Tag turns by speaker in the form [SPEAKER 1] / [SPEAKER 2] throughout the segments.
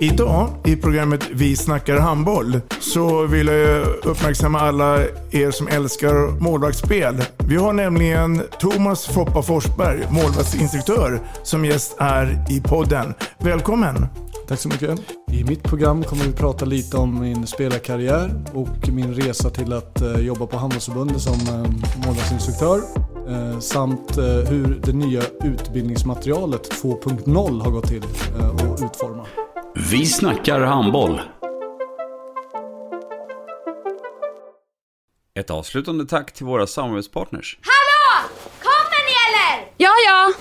[SPEAKER 1] Idag i programmet Vi snackar handboll så vill jag uppmärksamma alla er som älskar målvaktsspel. Vi har nämligen Thomas Foppa Forsberg, målvaktsinstruktör, som gäst här i podden. Välkommen!
[SPEAKER 2] Tack så mycket. I mitt program kommer vi prata lite om min spelarkarriär och min resa till att eh, jobba på Handelsförbundet som eh, målvaktsinstruktör eh, samt eh, hur det nya utbildningsmaterialet 2.0 har gått till eh, och utforma.
[SPEAKER 3] Vi snackar handboll. Ett avslutande tack till våra samarbetspartners.
[SPEAKER 4] Hallå! Kommer ni eller?
[SPEAKER 5] Ja, ja.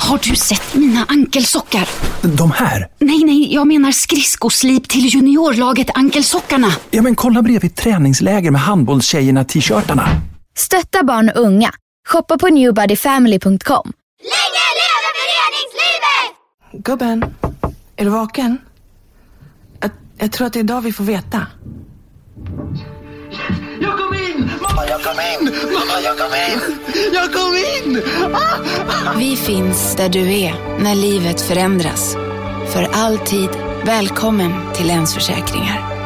[SPEAKER 5] Har du sett mina ankelsockar?
[SPEAKER 6] De här?
[SPEAKER 5] Nej, nej, jag menar skridskoslip till juniorlaget Ankelsockarna.
[SPEAKER 6] Ja, men kolla bredvid träningsläger med handbollstjejerna-t-shirtarna.
[SPEAKER 7] Stötta barn och unga. Shoppa på newbodyfamily.com.
[SPEAKER 4] Länge leve föreningslivet!
[SPEAKER 8] Gubben, är du vaken? Jag, jag tror att det är idag vi får veta.
[SPEAKER 9] Jag kom in! Mamma, jag kom in! Mamma, jag kom in! Jag kom in!
[SPEAKER 5] Vi finns där du är när livet förändras. För alltid välkommen till Länsförsäkringar.